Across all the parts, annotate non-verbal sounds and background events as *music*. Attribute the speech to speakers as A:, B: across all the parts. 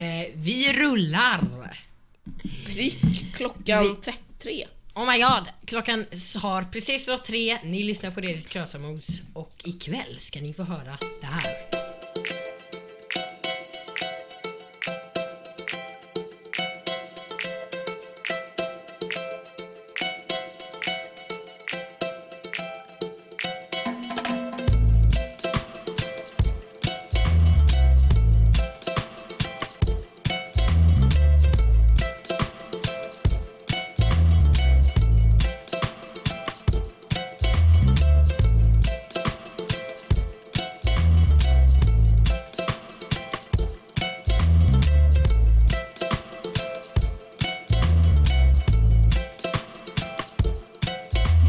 A: Eh, Vi rullar!
B: Prick klockan 33.
A: Oh my god, klockan har precis slagit tre, ni lyssnar på Redigt Krösamos och ikväll ska ni få höra det här.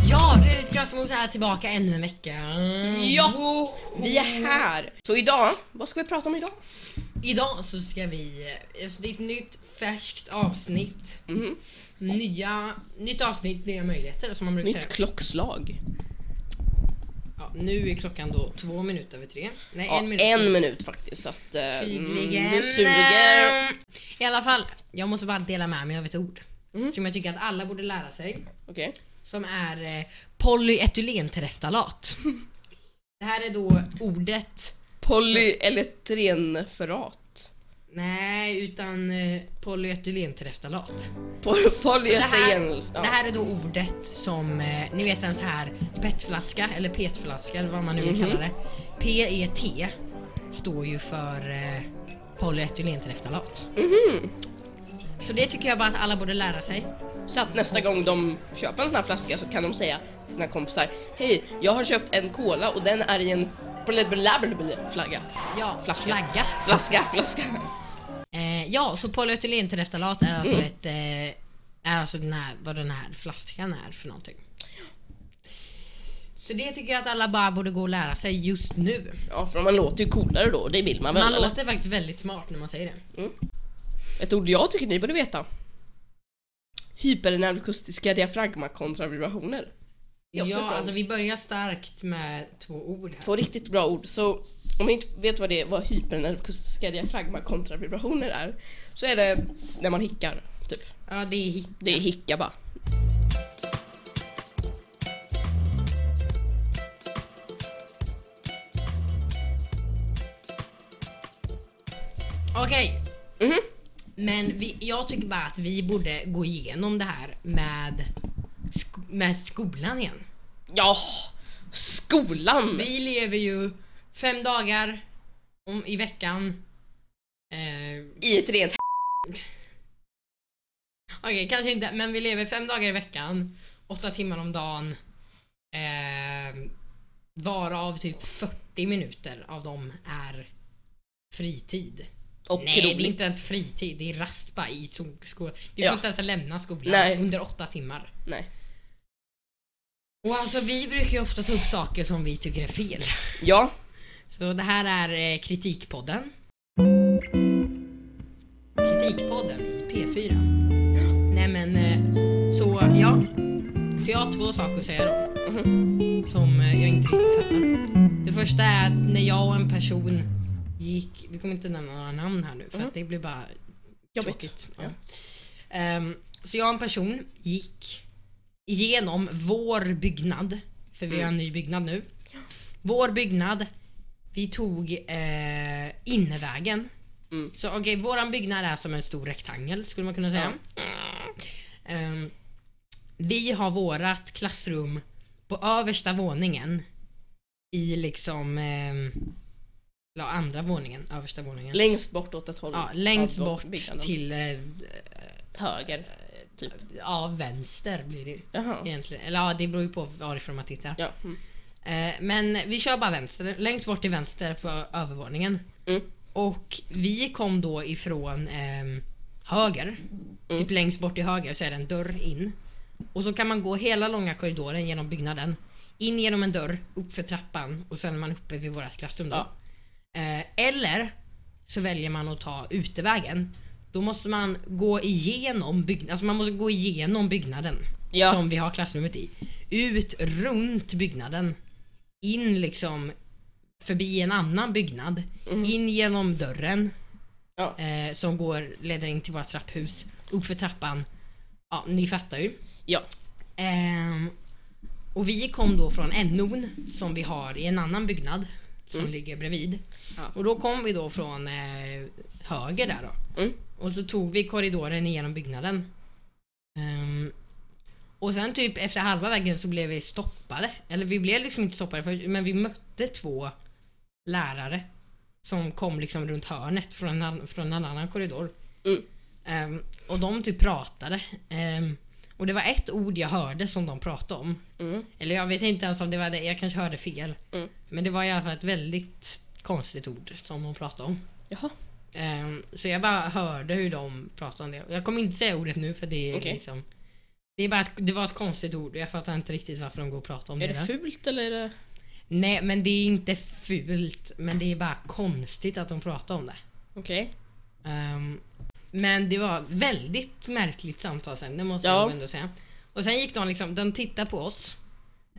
A: Ja, Redigt Krösamos är tillbaka ännu en vecka. Mm.
B: Ja, vi är här. Så idag, vad ska vi prata om idag?
A: Idag så ska vi, eh, det är ett nytt färskt avsnitt.
B: Mhm.
A: Nya, nytt avsnitt, nya möjligheter som man brukar
B: Nytt
A: säga.
B: klockslag.
A: Ja, nu är klockan då två minuter över tre. Nej,
B: Ja,
A: en
B: en,
A: minut.
B: minut. faktiskt. Så att, eh,
A: Tydligen.
B: Mm, det suger.
A: Ehm, I alla fall, jag måste bara dela med mig av ett ord.
B: Mm.
A: Som jag tycker att alla borde lära sig.
B: Okej.
A: Som är eh, polyetylentereftalat. Det här är då ordet,
B: Polyelektrenferat.
A: nej utan eh, polyetylentereftalat.
B: Poly-
A: Det här,
B: Polyetren...
A: det
B: Ja.
A: här är då ordet som, eh, ni vet en så här petflaska eller petflaska eller vad man nu vill
B: Mhm.
A: kalla det. PET står ju för eh, polyetylentereftalat.
B: Mhm.
A: Så det tycker jag bara att alla borde lära sig.
B: Så att nästa gång de köper en sån här flaska så kan de säga till sina kompisar Hej, jag har köpt en cola och den är i en blablabla flagga.
A: Ja,
B: Flaska.
A: flagga.
B: Flaska, flaska.
A: Eh, ja, så polyetylentereftalat är
B: Mhm.
A: alltså ett eh, är alltså den här, vad den här flaskan är för någonting. Så det tycker jag att alla bara borde gå och lära sig just nu.
B: Ja, för man låter ju coolare då och det vill man väl?
A: Man
B: eller?
A: låter faktiskt väldigt smart när man säger det.
B: Ett ord jag tycker ni borde veta. Hypernervkustiska diafragmakontravibrationer. Det är också
A: Ja,
B: ett bra
A: alltså
B: ord.
A: vi börjar starkt med två ord här.
B: Två riktigt bra ord. Så om ni inte vet vad det är, vad hypernervkustiska diafragmakontravibrationer är, så är det när man hickar, typ.
A: Ja, det är hit.
B: Det är hicka bara.
A: Okej,
B: Mhm.
A: men vi, jag tycker bara att vi borde gå igenom det här med, sk- med skolan igen.
B: Ja! Skolan!
A: Vi lever ju fem dagar om, i veckan. Eh,
B: I ett rent
A: Okej, kanske inte, men vi lever fem dagar i veckan, åtta timmar om dagen. Eh, varav typ 40 minuter av dem är fritid.
B: och
A: Nej, det är
B: roligt.
A: inte ens fritid. Det är rast bara i sol- skolan. Vi får
B: Ja.
A: inte ens lämna skolan
B: Nej.
A: under åtta timmar.
B: Nej.
A: Och alltså vi brukar ju ofta ta upp saker som vi tycker är fel.
B: Ja,
A: Så det här är eh, Kritikpodden. Kritikpodden i P4. Nej men, eh, så ja. Så jag har två saker att säga då. Som eh, jag inte riktigt fattar. Det första är att när jag och en person gick, vi kommer inte nämna några namn här nu för att det blir bara
B: Jobbigt.
A: tråkigt. Ja. Ehm, så jag och en person gick igenom vår byggnad, för vi har en ny byggnad nu. Vår byggnad, vi tog eh, innevägen.
B: Mm.
A: Så okej, våran byggnad är som en stor rektangel skulle man kunna säga. Ehm, vi har vårat klassrum på översta våningen i liksom ehm, ja, andra våningen, översta våningen.
B: längst bort åt ett håll.
A: Ja, längst
B: av
A: bort
B: byggnaden.
A: till eh,
B: höger, typ.
A: ja, vänster blir det ju
B: Jaha.
A: egentligen. Eller ja, det beror ju på varifrån man tittar.
B: Ja. Mm.
A: Eh, men vi kör bara vänster, längst bort till vänster på övervåningen.
B: Mm.
A: Och vi kom då ifrån ehm, höger.
B: Mm.
A: Typ längst bort till höger så är det en dörr in. Och så kan man gå hela långa korridoren genom byggnaden. In genom en dörr, upp för trappan och sen är man uppe vid vårt klassrum då.
B: Ja.
A: Eh, eller så väljer man att ta utevägen. Då måste man gå igenom byggnaden, alltså man måste gå igenom byggnaden
B: Ja.
A: som vi har klassrummet i. Ut runt byggnaden, in liksom förbi en annan byggnad, in genom dörren,
B: Ja.
A: eh, som går, leder in till våra trapphus. Uppför trappan. Ja, ni fattar ju.
B: Ja.
A: Ehm, och vi kom då från NOn som vi har i en annan byggnad som ligger bredvid.
B: Mm. Ja.
A: Och då kom vi då från eh, höger där då.
B: Mm.
A: Och så tog vi korridoren igenom byggnaden. Ehm, och sen typ efter halva vägen så blev vi stoppade. Eller vi blev liksom inte stoppade först, men vi mötte två lärare som kom liksom runt hörnet från en, ann- från en annan korridor.
B: Mm.
A: Ehm, och de typ pratade. Ehm, och det var ett ord jag hörde som de pratade om.
B: Mm.
A: Eller jag vet inte ens om det var det, jag kanske hörde fel.
B: Mm.
A: Men det var i alla fall ett väldigt konstigt ord som de pratade om.
B: Jaha.
A: Ehm, så jag bara hörde hur de pratade om det. Jag kommer inte säga ordet nu för det är
B: Okej.
A: liksom... Det, är bara, ett- det var ett konstigt ord och jag fattar inte riktigt varför de går och pratar om
B: Är
A: det.
B: det
A: där.
B: fult eller är det...
A: Nej, men det är inte fult. Men det är bara konstigt att de pratar om det.
B: Okej.
A: Ehm, men det var väldigt märkligt samtalsämne måste
B: Ja.
A: jag nog ändå säga. Och sen gick de liksom, de tittade på oss.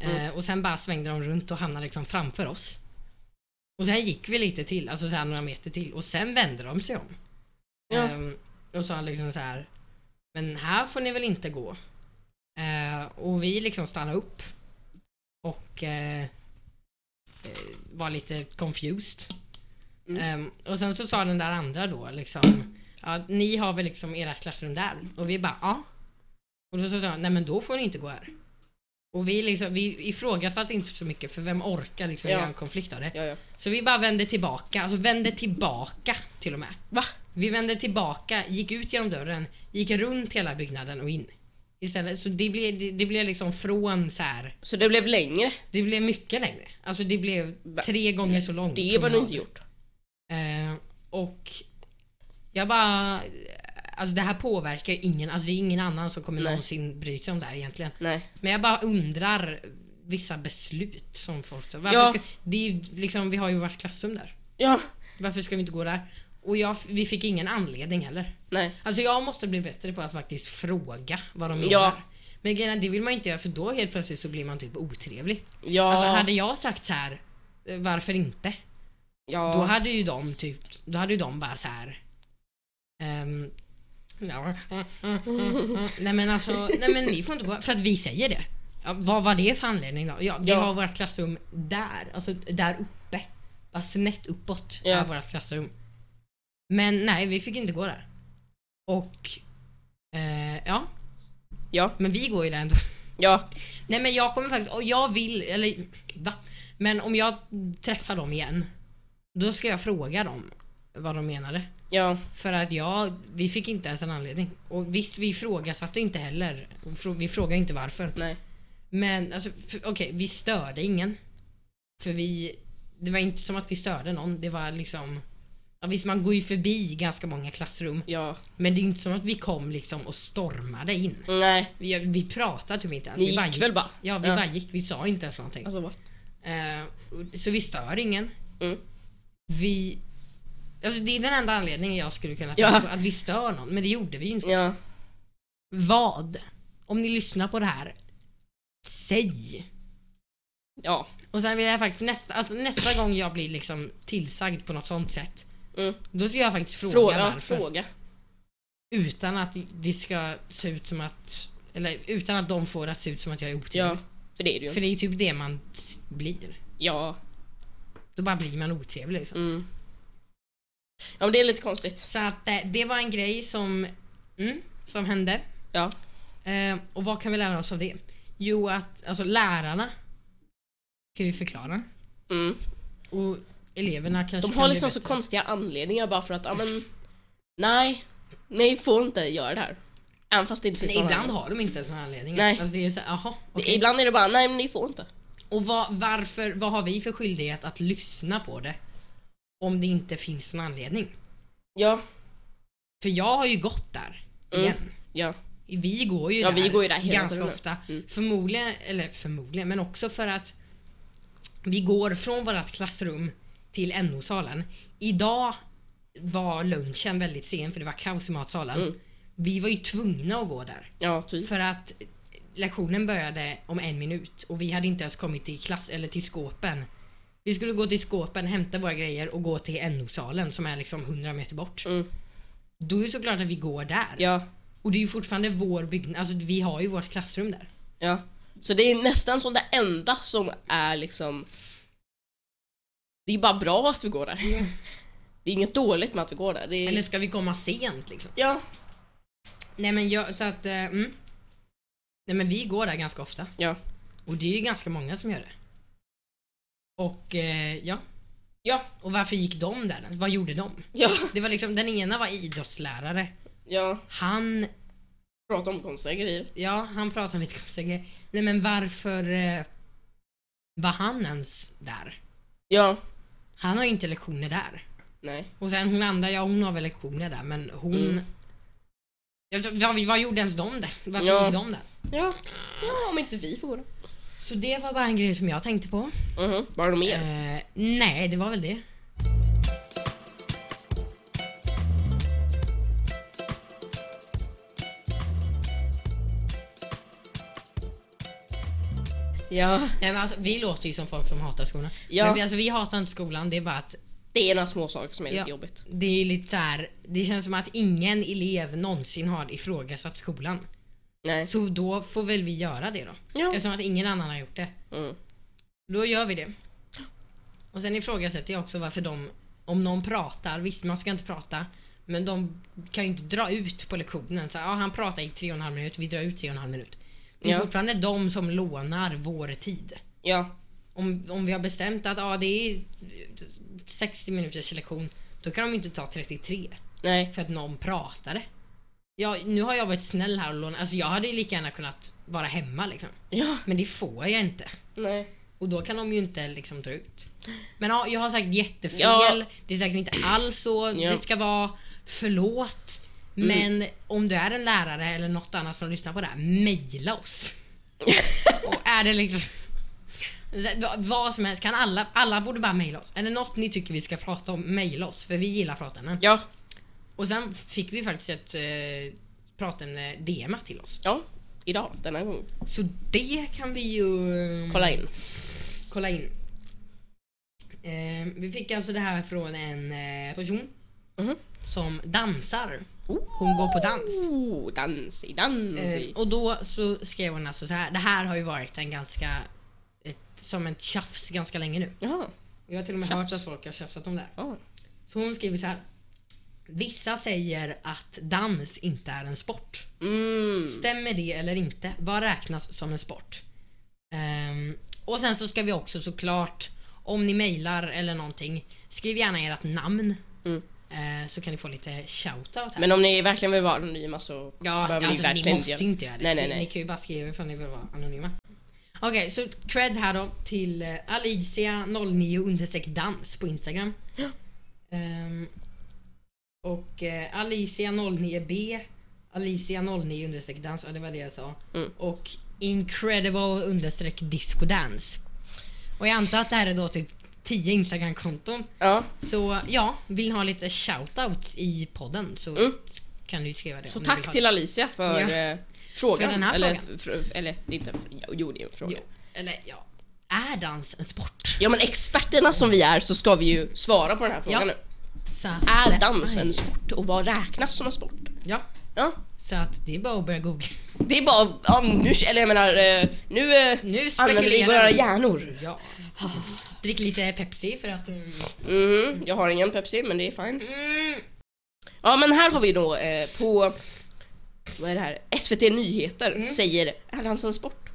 B: Mm.
A: eh, och sen bara svängde de runt och hamnade liksom framför oss. Och sen gick vi lite till, alltså så här några meter till. Och sen vände de sig om.
B: Ja.
A: Ehm, och sa liksom så här. Men här får ni väl inte gå. Eh, och vi liksom stannade upp. Och eh, eh, var lite confused. Ehm, och sen så sa den där andra då liksom, ja, ni har väl liksom era klassrum där? Och vi bara, ja. Och då så sa han, nej men då får ni inte gå här. Och vi, liksom, vi ifrågasatte inte så mycket för vem orkar liksom
B: Ja.
A: göra en konflikt av det.
B: Ja, ja.
A: Så vi bara vände tillbaka, alltså vände tillbaka till och med.
B: Va?
A: Vi vände tillbaka, gick ut genom dörren, gick runt hela byggnaden och in. Istället, så det blev, det, det blev liksom från så här.
B: Så det blev längre?
A: det blev mycket längre. Alltså det blev
B: Va?
A: tre gånger så långt.
B: Det var nog inte gjort.
A: Eh, och jag bara... Alltså det här påverkar ju ingen, alltså det är ingen annan som kommer
B: Nej.
A: någonsin bry sig om det här egentligen.
B: Nej.
A: Men jag bara undrar vissa beslut som folk tar. Varför
B: Ja.
A: ska, det är ju liksom, vi har ju vårt klassrum där.
B: Ja.
A: Varför ska vi inte gå där? Och jag, vi fick ingen anledning heller.
B: Nej.
A: Alltså jag måste bli bättre på att faktiskt fråga vad de menar.
B: Ja.
A: Men grejen är, det vill man ju inte göra för då helt plötsligt så blir man typ otrevlig.
B: Ja.
A: Alltså hade jag sagt så här, eh, varför inte?
B: ja.
A: Då hade ju de typ, då hade ju de bara så här. ehm,
B: *laughs*
A: ja, mm, mm, mm, mm. nej men alltså, nej men ni får inte gå, för att vi säger det. Ja, vad var det för anledning då? Ja, vi
B: Ja.
A: har vårt klassrum där, alltså där uppe. Bara snett uppåt
B: Ja.
A: är vårt klassrum. Men nej, vi fick inte gå där. Och, eh, ja,
B: Ja.
A: men vi går ju där ändå.
B: Ja.
A: Nej men jag kommer faktiskt, och jag vill, eller va? Men om jag träffar dem igen, då ska jag fråga dem vad de menade.
B: Ja.
A: För att jag, vi fick inte ens en anledning. Och visst, vi ifrågasatte inte heller. Frå- Vi frågade inte varför.
B: Nej.
A: Men alltså, f- okej, vi störde ingen. För vi, det var inte som att vi störde någon. Det var liksom, ja, visst man går ju förbi ganska många klassrum.
B: Ja.
A: Men det är inte som att vi kom liksom och stormade in.
B: Nej.
A: Vi, vi pratade typ inte ens.
B: Ni
A: vi
B: gick väl bara?
A: Ja, vi
B: Ja.
A: bara gick. Vi sa inte ens någonting.
B: Alltså vad?
A: Eh, och- så vi stör ingen.
B: Mm.
A: Vi... Alltså det är den enda anledningen jag skulle kunna
B: Ja.
A: tänka på, att vi stör någon. Men det gjorde vi ju inte.
B: Ja.
A: Vad? Om ni lyssnar på det här, säg!
B: Ja.
A: Och sen vill jag faktiskt nästa, alltså nästa gång jag blir liksom tillsagd på något sånt sätt,
B: Mm.
A: då ska jag faktiskt fråga
B: Fråga.
A: varför.
B: Fråga.
A: Utan att det ska se ut som att, eller utan att de får det att se ut som att jag är otrevlig.
B: Ja. För det är det ju.
A: För det är ju typ det man s- blir.
B: Ja.
A: Då bara blir man otrevlig liksom.
B: Mm. Ja men det är lite konstigt.
A: Så att eh, det var en grej som, mm, som hände.
B: Ja.
A: Eh, och vad kan vi lära oss av det? Jo att alltså, lärarna kan ju förklara.
B: Mm.
A: Och eleverna kanske
B: De
A: kan
B: har
A: bli
B: liksom så
A: bättre.
B: konstiga anledningar bara för att, ja men, nej, ni får inte göra det här. Även fast det inte finns
A: Nej,
B: någon
A: Ibland
B: anledning.
A: har de inte sådana anledningar.
B: Nej.
A: Alltså, det är så, här, aha, okej.
B: Ibland är det bara, nej men ni får inte.
A: Och vad, varför, vad har vi för skyldighet att lyssna på det? Om det inte finns någon anledning.
B: Ja,
A: För jag har ju gått där
B: Mm.
A: igen.
B: ja,
A: Vi går ju
B: Ja,
A: där,
B: vi går ju där hela
A: ganska
B: tiden.
A: ofta.
B: Mm.
A: Förmodligen, eller förmodligen, men också för att vi går från vårt klassrum till NO-salen. Idag var lunchen väldigt sen för det var kaos i matsalen.
B: Mm.
A: Vi var ju tvungna att gå där
B: ja typ.
A: för att lektionen började om en minut och vi hade inte ens kommit till klass eller till skåpen Vi skulle gå till skåpen, hämta våra grejer och gå till NO-salen som är liksom 100 meter bort.
B: Mm.
A: Då är det såklart att vi går där.
B: Ja,
A: Och det är ju fortfarande vår byggnad, alltså vi har ju vårt klassrum där.
B: ja. Så det är nästan som det enda som är liksom... Det är bara bra att vi går där. Det är inget dåligt med att vi går där. Det är...
A: Eller ska vi komma sent liksom?
B: Ja,
A: Eh. Nej men jag, så att, eh, mm. Nej men vi går där ganska ofta.
B: ja.
A: Och det är ju ganska många som gör det. Och eh, ja,
B: Ja,
A: och varför gick de där? Vad gjorde de?
B: ja,
A: Det var liksom, den ena var idrottslärare.
B: ja.
A: Han,
B: Prata om konstiga grejer.
A: ja han pratade om lite konstiga grejer. Nej men varför eh, var han ens där?
B: Ja,
A: Han har ju inte lektioner där.
B: nej.
A: Och sen hon andra, ja hon har väl lektioner där men hon...
B: Mm.
A: Jag vet inte, vad, vad gjorde ens de där? Varför
B: Ja.
A: gjorde de där?
B: Ja. ja, om inte vi får gå då.
A: Så det var bara en grej som jag tänkte på.
B: Mhm, Var det något mer?
A: Eh, nej, det var väl det.
B: Ja.
A: Nej, men alltså, vi låter ju som folk som hatar skolan.
B: Ja.
A: Men vi, alltså, vi hatar inte skolan, det är bara att
B: Det är några små saker som är lite
A: Ja.
B: jobbigt.
A: det är lite så här, det känns som att ingen elev någonsin har ifrågasatt skolan.
B: Nej.
A: Så då får väl vi göra det då.
B: Ja.
A: Eftersom att ingen annan har gjort det.
B: Mm.
A: Då gör vi det. Och sen ifrågasätter jag också varför de, om någon pratar, visst man ska inte prata, men de kan ju inte dra ut på lektionen. Så, ja, han pratar i tre och en halv minut, vi drar ut tre och en halv minut. Det är
B: Ja.
A: fortfarande de som lånar vår tid.
B: Ja.
A: Om, om vi har bestämt att ja, det är 60 minuters lektion, då kan de ju inte ta 33
B: Nej.
A: för att någon pratade. Ja, nu har jag varit snäll här och lånat, alltså jag hade ju lika gärna kunnat vara hemma liksom.
B: Ja.
A: Men det får jag inte.
B: Nej.
A: Och då kan de ju inte liksom dra ut. Men ja, jag har sagt jättefel.
B: Ja.
A: Det är säkert inte alls så
B: Ja. Mm.
A: det ska vara. Förlåt. Men om du är en lärare eller något annat som lyssnar på det här, mejla
B: *laughs*
A: oss. och är det liksom... Vad som helst, kan alla, alla borde bara mejla oss. Är det något ni tycker vi ska prata om, mejla oss. För vi gillar pratämnen.
B: Ja.
A: Och sen fick vi faktiskt ett eh, pratämne DM till oss.
B: Ja. Idag, denna gång.
A: Så det kan vi ju... eh,
B: Kolla in.
A: kolla in. Eh, vi fick alltså det här från en eh, person
B: Mhm.
A: som dansar. Hon går på dans.
B: Oh, dansi, dansi.
A: Eh, och då så skrev hon alltså så här. Det här har ju varit en ganska, ett, som ett tjafs ganska länge nu.
B: Jaha.
A: Jag har till och med hört
B: Tjafs.
A: att folk har tjafsat om det här.
B: Ja.
A: Så hon skriver så här. Vissa säger att dans inte är en sport.
B: Mm.
A: Stämmer det eller inte? Vad räknas som en sport? Ehm, och sen så ska vi också såklart, om ni mejlar eller någonting, skriv gärna ert namn.
B: Mm.
A: Eh, så kan ni få lite shoutout här.
B: Men om ni verkligen vill vara anonyma så
A: ja,
B: behöver
A: alltså
B: ni
A: ni,
B: verkligen
A: måste
B: göra-
A: inte göra det.
B: Nej, nej,
A: Ni,
B: nej.
A: ni kan ju bara skriva ifall ni vill vara anonyma. Okej, så cred här då till eh, Alicia09 understreck dans på Instagram. Ehm, och eh, Alicia09B, Alicia09 understreck dans, ja det var det jag sa.
B: Mm.
A: Och Incredible understreck discodance. Och jag antar att det här är då typ 10 Instagram-konton.
B: Ja.
A: Så ja, vill ni ha lite shoutouts i podden så
B: Mm.
A: kan du skriva det.
B: Så
A: om ni vill
B: tack
A: ha
B: till Alicia för
A: Ja.
B: eh, frågan.
A: För den här
B: eller,
A: frågan.
B: fr- fr- eller, det är inte en fråga. Jo, det är en fråga.
A: Jo, eller ja. Är dans en sport?
B: Ja, men experterna som vi är så ska vi ju svara på den här frågan
A: Ja.
B: nu.
A: Så att,
B: Är dans en sport och vad räknas som en sport?
A: Ja,
B: Ja.
A: så att det är bara att börja googla. *laughs*
B: Det är bara, ja, nu, eller jag menar, eh, nu, eh,
A: Nu
B: använder vi
A: spekulerar
B: våra
A: vi.
B: hjärnor.
A: Ja. Drick lite Pepsi för att... mm,
B: Mhm, jag har ingen Pepsi men det är fine.
A: Mm,
B: Ja men här har vi då eh, på, vad är det här, SVT Nyheter
A: Mm.
B: säger, är dans en sport?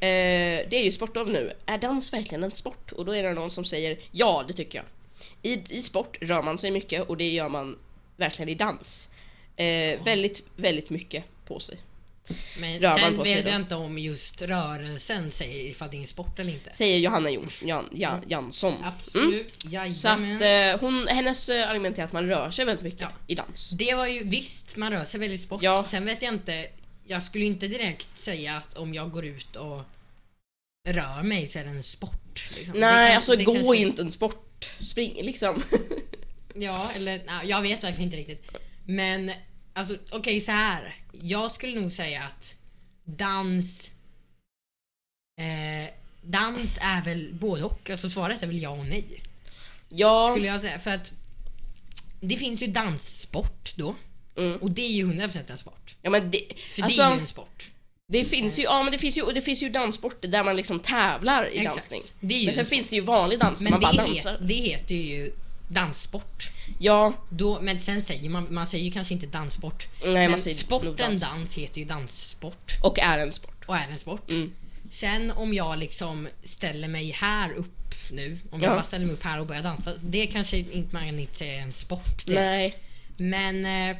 B: Eh, det är ju sportlov nu, är dans verkligen en sport? Och då är det någon som säger, ja det tycker jag. I, i sport rör man sig mycket och det gör man verkligen i dans. Eh, väldigt, väldigt mycket på sig.
A: men
B: Rör man
A: sen
B: på sig
A: vet
B: då?
A: jag inte om just rörelsen säger ifall det är en sport eller inte.
B: Säger Johanna Jon, Jan, Jan, Jansson.
A: Mm.
B: Mm.
A: Absolut,
B: Så att
A: jajamän.
B: eh, hon, hennes eh, argument är att man rör sig väldigt mycket
A: Ja.
B: i dans.
A: Det var ju visst, man rör sig väldigt sport.
B: Ja.
A: Sen vet jag inte, jag skulle ju inte direkt säga att om jag går ut och rör mig så är det en sport. Liksom. Det
B: Nej,
A: kan-
B: alltså
A: det
B: gå
A: kanske-
B: inte en sport. Spring liksom. *laughs*
A: Ja, eller nej, jag vet faktiskt inte riktigt. Men alltså okej så här. Jag skulle nog säga att dans eh, dans är väl både och. Alltså svaret är väl ja och nej.
B: Ja,
A: Skulle jag säga. För att det finns ju danssport då.
B: Mm.
A: Och det är ju 100% en sport.
B: ja men det,
A: För
B: alltså,
A: det är ju en sport.
B: det finns ju, ja men det finns ju, och det finns ju danssporter där man liksom tävlar i
A: Exakt.
B: dansning.
A: Det är ju
B: Men sen
A: en
B: finns det ju vanlig dans,
A: Men
B: man
A: det,
B: bara
A: he,
B: dansar.
A: det heter ju danssport.
B: Ja,
A: Då, men sen säger man, man säger ju kanske inte danssport.
B: Nej,
A: men
B: man säger
A: sporten
B: nog dans.
A: dans heter ju danssport.
B: och är en sport.
A: och är en sport.
B: Mm.
A: Sen om jag liksom ställer mig här upp nu, om jag
B: Ja.
A: bara ställer mig upp här och börjar dansa, det kanske inte man inte säger är en sport. direkt.
B: Nej.
A: Men, eh,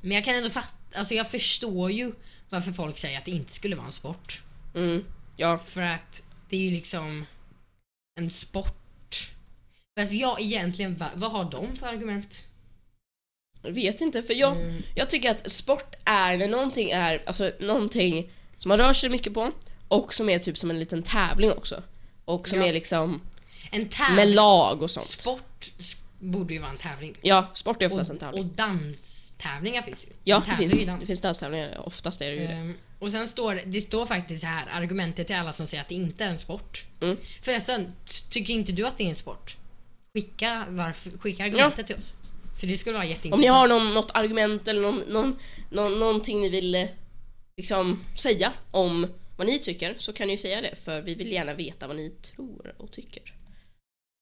A: men jag kan ändå fatta, alltså jag förstår ju varför folk säger att det inte skulle vara en sport.
B: Mm. Ja.
A: För att det är ju liksom en sport. Fast jag egentligen, va- vad har de för argument?
B: Jag vet inte, för jag,
A: Mm.
B: jag tycker att sport är när någonting är, alltså någonting som man rör sig mycket på och som är typ som en liten tävling också. Och som
A: Ja.
B: är liksom
A: En tävling,
B: med lag och sånt.
A: sport s- borde ju vara en tävling.
B: Ja, sport är oftast en
A: Och, och
B: tävling.
A: danstävlingar finns ju. En
B: Ja, det
A: tävling är
B: finns,
A: ju dans.
B: det finns danstävlingar. Oftast är det ju det.
A: Ehm, och sen står det- det står faktiskt så här argumentet till alla som säger att det inte är en sport.
B: Mm.
A: Förresten, t- tycker inte du att det är en sport? Skicka, varför, skicka argumentet till oss. För det skulle vara
B: Om ni
A: jätteintressant.
B: har någon, något argument eller någon, någon, någon, någonting ni vill eh, liksom säga om vad ni tycker så kan ni ju säga det för vi vill gärna veta vad ni tror och tycker.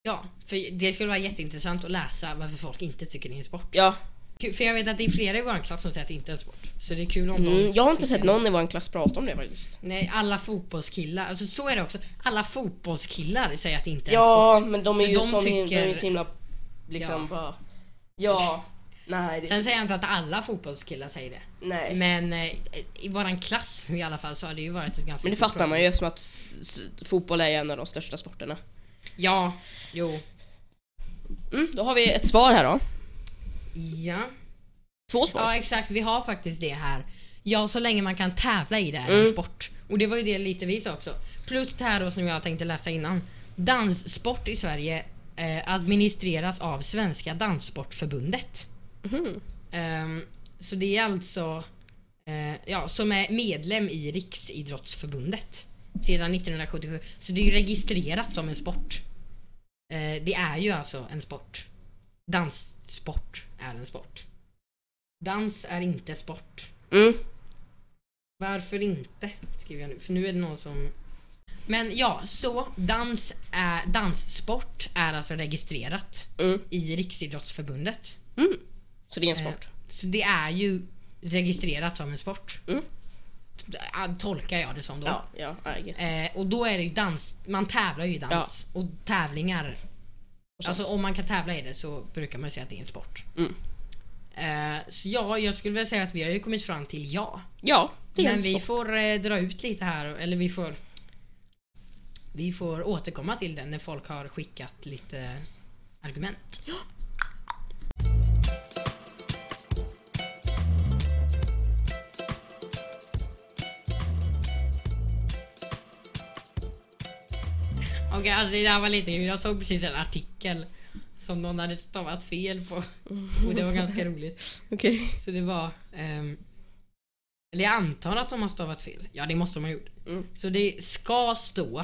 A: Ja, för det skulle vara jätteintressant att läsa varför folk inte tycker det är en sport.
B: Ja,
A: Kul, För jag vet att det är flera i vår klass som säger att det inte är en sport. Så det är kul om de...
B: mm, jag har inte sett någon i vår klass prata om det faktiskt.
A: Nej, alla fotbollskillar. Alltså så är det också. Alla fotbollskillar säger att det inte är en sport.
B: Ja, men de är
A: För
B: ju,
A: de
B: sån, de är
A: tycker-
B: ju så himla liksom
A: Ja.
B: bara... Ja, nej, det,
A: Sen säger jag inte att alla fotbollskillar säger det.
B: nej. Men,
A: Men eh, i våran klass i alla fall så har det ju varit ett ganska
B: det
A: stort
B: fattar
A: problem.
B: man ju eftersom att s- s- fotboll är ju en av de största sporterna.
A: Ja, jo.
B: Mm, då har vi ett svar här då.
A: Ja.
B: Två svar.
A: ja, exakt. Vi har faktiskt det här. Ja, så länge man kan tävla i det här är en
B: Mm.
A: sport. Och det var ju det lite vi sa också. Plus det här då som jag tänkte läsa innan. Danssport i Sverige eh, administreras av Svenska Danssportförbundet. Ehm, så det är alltså eh, ja, som är medlem i Riksidrottsförbundet sedan 1977. Så det är ju registrerat som en sport. Eh, det är ju alltså en sport. Danssport är en sport. Dans är inte sport.
B: Mm.
A: Varför inte? Skriver jag nu. För nu är det någon som... Men ja, så dans är, danssport är alltså registrerat
B: Mm.
A: i Riksidrottsförbundet. Eh,
B: Mm. Så det är en sport.
A: Så det är ju registrerat som en sport.
B: Mm.
A: T- ah, Tolkar jag det som då.
B: Ja, ja, I guess.
A: Eh, och då är det ju dans, man tävlar ju i dans. Och tävlingar,
B: sånt.
A: alltså om man kan tävla i det så brukar man säga att det är en sport.
B: Mm.
A: Eh, så ja, jag skulle väl säga att vi har ju kommit fram till ja.
B: Ja, det är
A: Men
B: en
A: vi
B: sport.
A: får eh, dra ut lite här, eller vi får vi får återkomma till den när folk har skickat lite argument. *gasps* Okej, alltså det där var lite kul. Jag såg precis en artikel som någon hade stavat fel
B: *laughs*
A: på. Och det var ganska roligt.
B: Okej.
A: Så det var... ehm, eller jag antar att de har stavat fel. Ja, det måste de ha gjort.
B: Mm.
A: Så det ska stå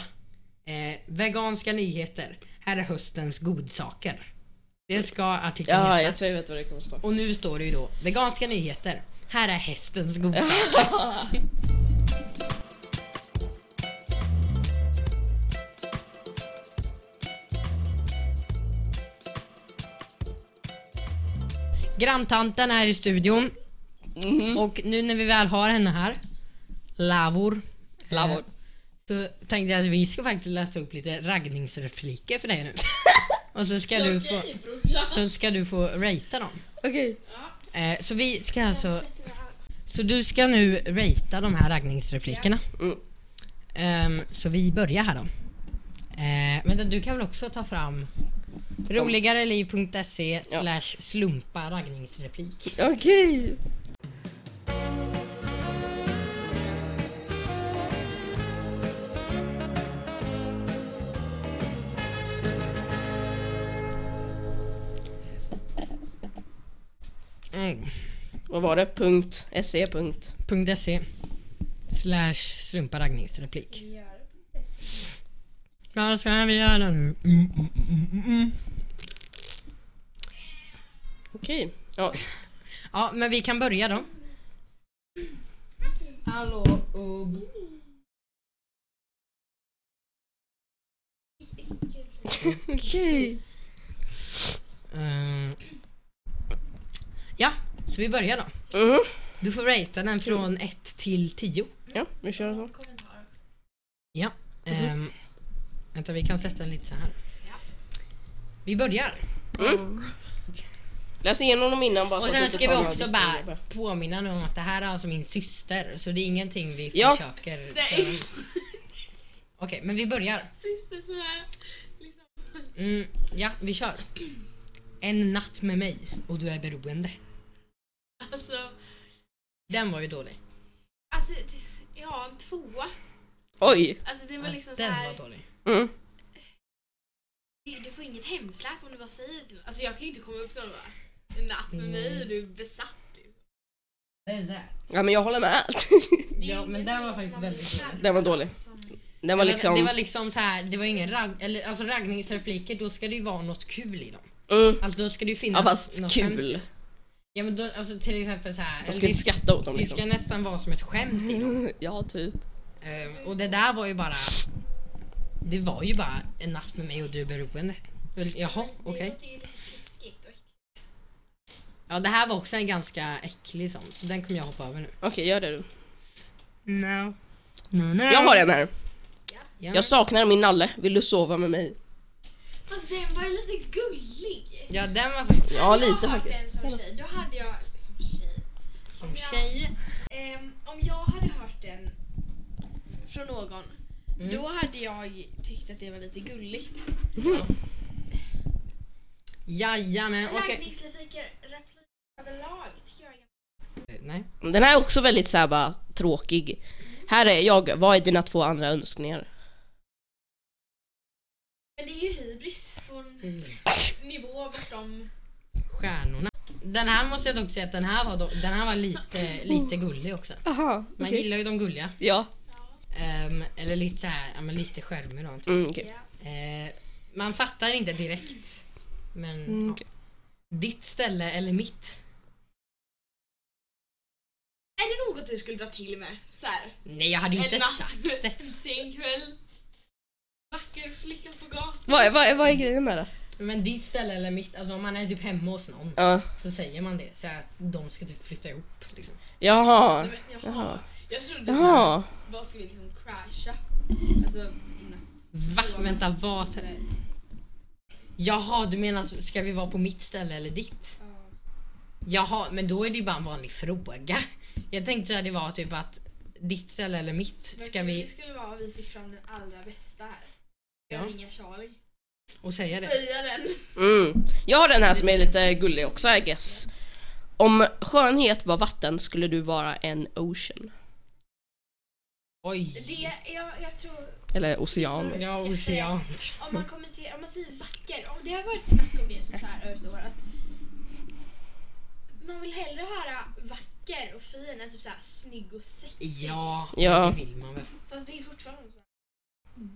A: eh, Veganska nyheter. Här är höstens godsaker. Det ska artikeln
B: Ja,
A: heta.
B: jag tror jag vet vad det kommer stå.
A: Och nu står det ju då Veganska nyheter. Här är hästens godsaker. Granntanten är i studion. Och nu när vi väl har henne här, Lavor.
B: Lavor.
A: eh, Så tänkte jag att vi ska faktiskt läsa upp lite raggningsrepliker för dig nu. Och så ska, du få, så ska du få ratea dem.
B: Okej.
A: Eh, så vi ska alltså... Så du ska nu ratea de här raggningsreplikerna.
B: Mm.
A: Ehm, så vi börjar här då. Eh, men du kan väl också ta fram roligareliv.se slash slumpa raggningsreplik.
B: Okej.
A: Mm.
B: Vad var det? Punkt. SE. Punkt.
A: .se slash slumpa raggningsreplik. Vad ska vi göra nu? Mm, mm, mm, mm, mm.
B: Okej. Ja.
A: Ja, men vi kan börja då. Hallå, Ubb.
B: Okej.
A: Ehm, Ja, så vi börjar då.
B: Mhm.
A: Du får ratea den från 1 till 10.
B: Ja, vi kör så.
A: Ja. ehm, vänta, vi kan sätta den lite så här. Vi börjar.
B: Läs igenom dem innan bara
A: Och
B: så att
A: sen
B: inte
A: ska vi
B: tar några
A: också
B: riktiga
A: bara
B: jobbiga.
A: påminna nu om att det här är alltså min syster, så det är ingenting vi
B: Ja.
A: försöker... Okej, men vi börjar.
C: Syster som är liksom...
A: Mm, ja, vi kör. En natt med mig och du är beroende.
C: Alltså,
A: Den var ju dålig.
C: alltså ja, en tvåa.
B: Oj!
C: Alltså det var liksom så
A: Den
C: här,
A: var dålig.
B: Mm.
C: du, du får inget hemsläp om du bara säger det till någon. Alltså jag kan ju inte komma upp till någon och bara, en natt med mig och du är besatt.
B: Ja men jag håller med. *laughs*
C: Det är ju
A: Ja, men
C: ingen
A: den var
C: som
A: faktiskt
C: man
A: väldigt
C: blir
A: dålig.
B: Den var dålig.
C: som-
B: Den var liksom...
A: Det var liksom så här, det var ingen ragg... Eller alltså raggningsrepliker, då ska det ju vara något kul i dem.
B: Mm.
A: Alltså då ska det ju finnas
B: Ja fast
A: något skämt.
B: kul.
A: Ja men då, alltså till exempel så här.
B: Jag ska
A: det,
B: inte skratta åt dem
A: det ska
B: liksom.
A: nästan vara som ett skämt i dem.
B: Ja typ.
A: Eh, och det där var ju bara... Det var ju bara en natt med mig och du är beroende. Väl, Jaha, okej.
C: Det låter ju lite sliskigt och äckligt.
A: Ja, det här var också en ganska äcklig sån, så den kommer jag hoppa över nu.
B: Okej gör det du.
A: No. no, no.
B: Jag har en här.
A: Ja.
B: Jag saknar min nalle, vill du sova med mig?
C: Fast den var lite gullig.
A: ja, den var faktiskt...
B: Ja
C: Hade jag
B: lite
C: hört
B: faktiskt.
C: Den som tjej, då hade jag som tjej.
A: Som tjej.
C: Ehm, om jag hade hört den från någon,
A: Mm.
C: då hade jag tyckt att det var lite gulligt.
B: Mm.
A: Jajamän, okej.
C: Raggningsrepliker repliker överlag tycker jag är
A: Nej.
B: Den här är också väldigt såhär bara tråkig. Här är jag, vad är dina två andra önskningar?
C: Men det är ju hybris på en nivå bortom...
A: Stjärnorna. Den här måste jag dock säga att den här var, då, den här var lite, lite gullig också.
B: Aha,
A: Man gillar ju de gulliga.
B: Ja.
A: Ehm, eller lite så här, ja, men lite skärmig då.
B: Mm, okej.
A: Eh, man fattar inte direkt. Men
B: Mm, okej.
A: ditt ställe eller mitt?
C: Är det något du skulle dra till med? Så här,
A: Nej, jag hade ju inte
C: en natt,
A: sagt det.
C: En sen kväll. Vacker flicka på gatan.
B: Vad, är, vad, är, vad är grejen med det?
A: Men ditt ställe eller mitt, alltså om man är typ hemma hos någon
B: Ja.
A: så säger man det. Så att de ska typ flytta ihop liksom.
B: Jaha.
C: Nej, men
B: Jaha.
C: Jaha. Jag trodde att
B: Jaha.
C: vad skulle liksom crasha. Alltså, innan.
A: Va? Vänta, vad?
C: Eller,
A: Jaha, du menar så- ska vi vara på mitt ställe eller ditt?
C: ja.
A: Jaha, men då är det ju bara en vanlig fråga. Jag tänkte att det var typ att ditt ställe eller mitt,
C: Men
A: ska
C: kul
A: vi...
C: Det skulle vara att vi fick fram den allra bästa här.
A: Ja.
C: Jag ringer Charlie.
A: Och säga det.
C: Säga den.
B: Mm. Jag har den här som är lite gullig också I guess. Om skönhet var vatten skulle du vara en ocean.
A: Oj.
C: Det, jag, jag tror,
B: Eller ocean.
A: Ja, ocean.
C: om man kommenterar, om man säger vacker, om det har varit snack om det som så här över ett år att man vill hellre höra vacker och fin än typ så här snygg och sexig.
A: Ja,
B: Ja.
A: det vill man väl.
C: Fast det är fortfarande så. här,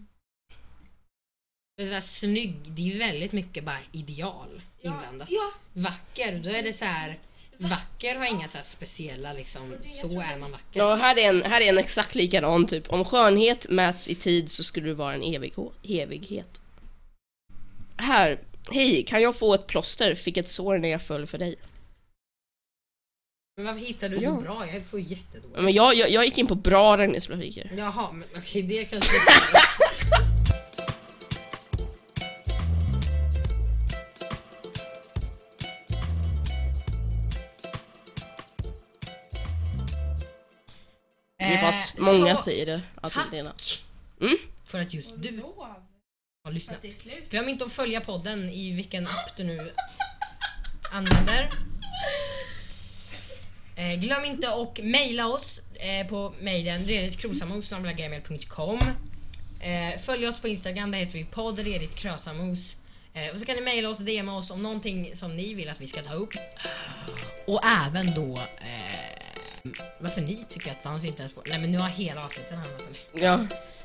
A: Det är så här, snygg, det är väldigt mycket bara ideal inblandat.
C: Ja,
A: Vacker, då är det så här vacker har inga så här speciella liksom, så är man vacker.
B: Ja, här är, en, här är en exakt likadan typ. Om skönhet mäts i tid så skulle du vara en evig, evighet. Här. Hej, kan jag få ett plåster? Fick ett sår när jag föll för dig.
A: Men varför hittar du
B: Ja.
A: så bra? Jag får ju jättedåligt.
B: Men jag, jag, jag gick in på bra raggningsrepliker.
A: Jaha, men okej det kanske...
B: Det är bara att
A: Eh,
B: många
A: så,
B: säger det. Att
A: tack.
B: det är en-
A: För att just du
C: lov
A: har lyssnat.
C: är slut.
A: Glöm inte att följa podden i vilken app du nu använder. Eh, glöm inte att mejla oss eh, på mejlen reditkrosamosgmail.com eh, Följ oss på Instagram, där heter vi podd Redigt Krösamos. Eh, och så kan ni mejla oss och DMa oss om någonting som ni vill att vi ska ta upp. Och även då eh, varför ni tycker att dans inte är sport. Nej men nu har hela avsnittet handlat om det.
B: Ja.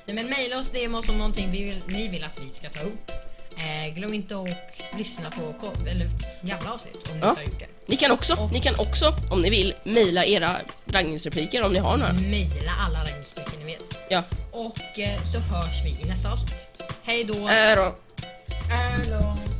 A: Nej, men mejla oss DM oss om någonting vi vill, ni vill att vi ska ta upp. Eh, glöm inte att lyssna på ko- eller gamla avsnitt om ni
B: Ja.
A: inte har gjort det.
B: Ni kan också, ni kan också om ni vill, mejla era raggningsrepliker om ni har några.
A: Mejla alla raggningsstycken ni vet.
B: Ja.
A: Och eh, så hörs vi i nästa avsnitt. Hej då!
B: Äh då.
A: Hallå.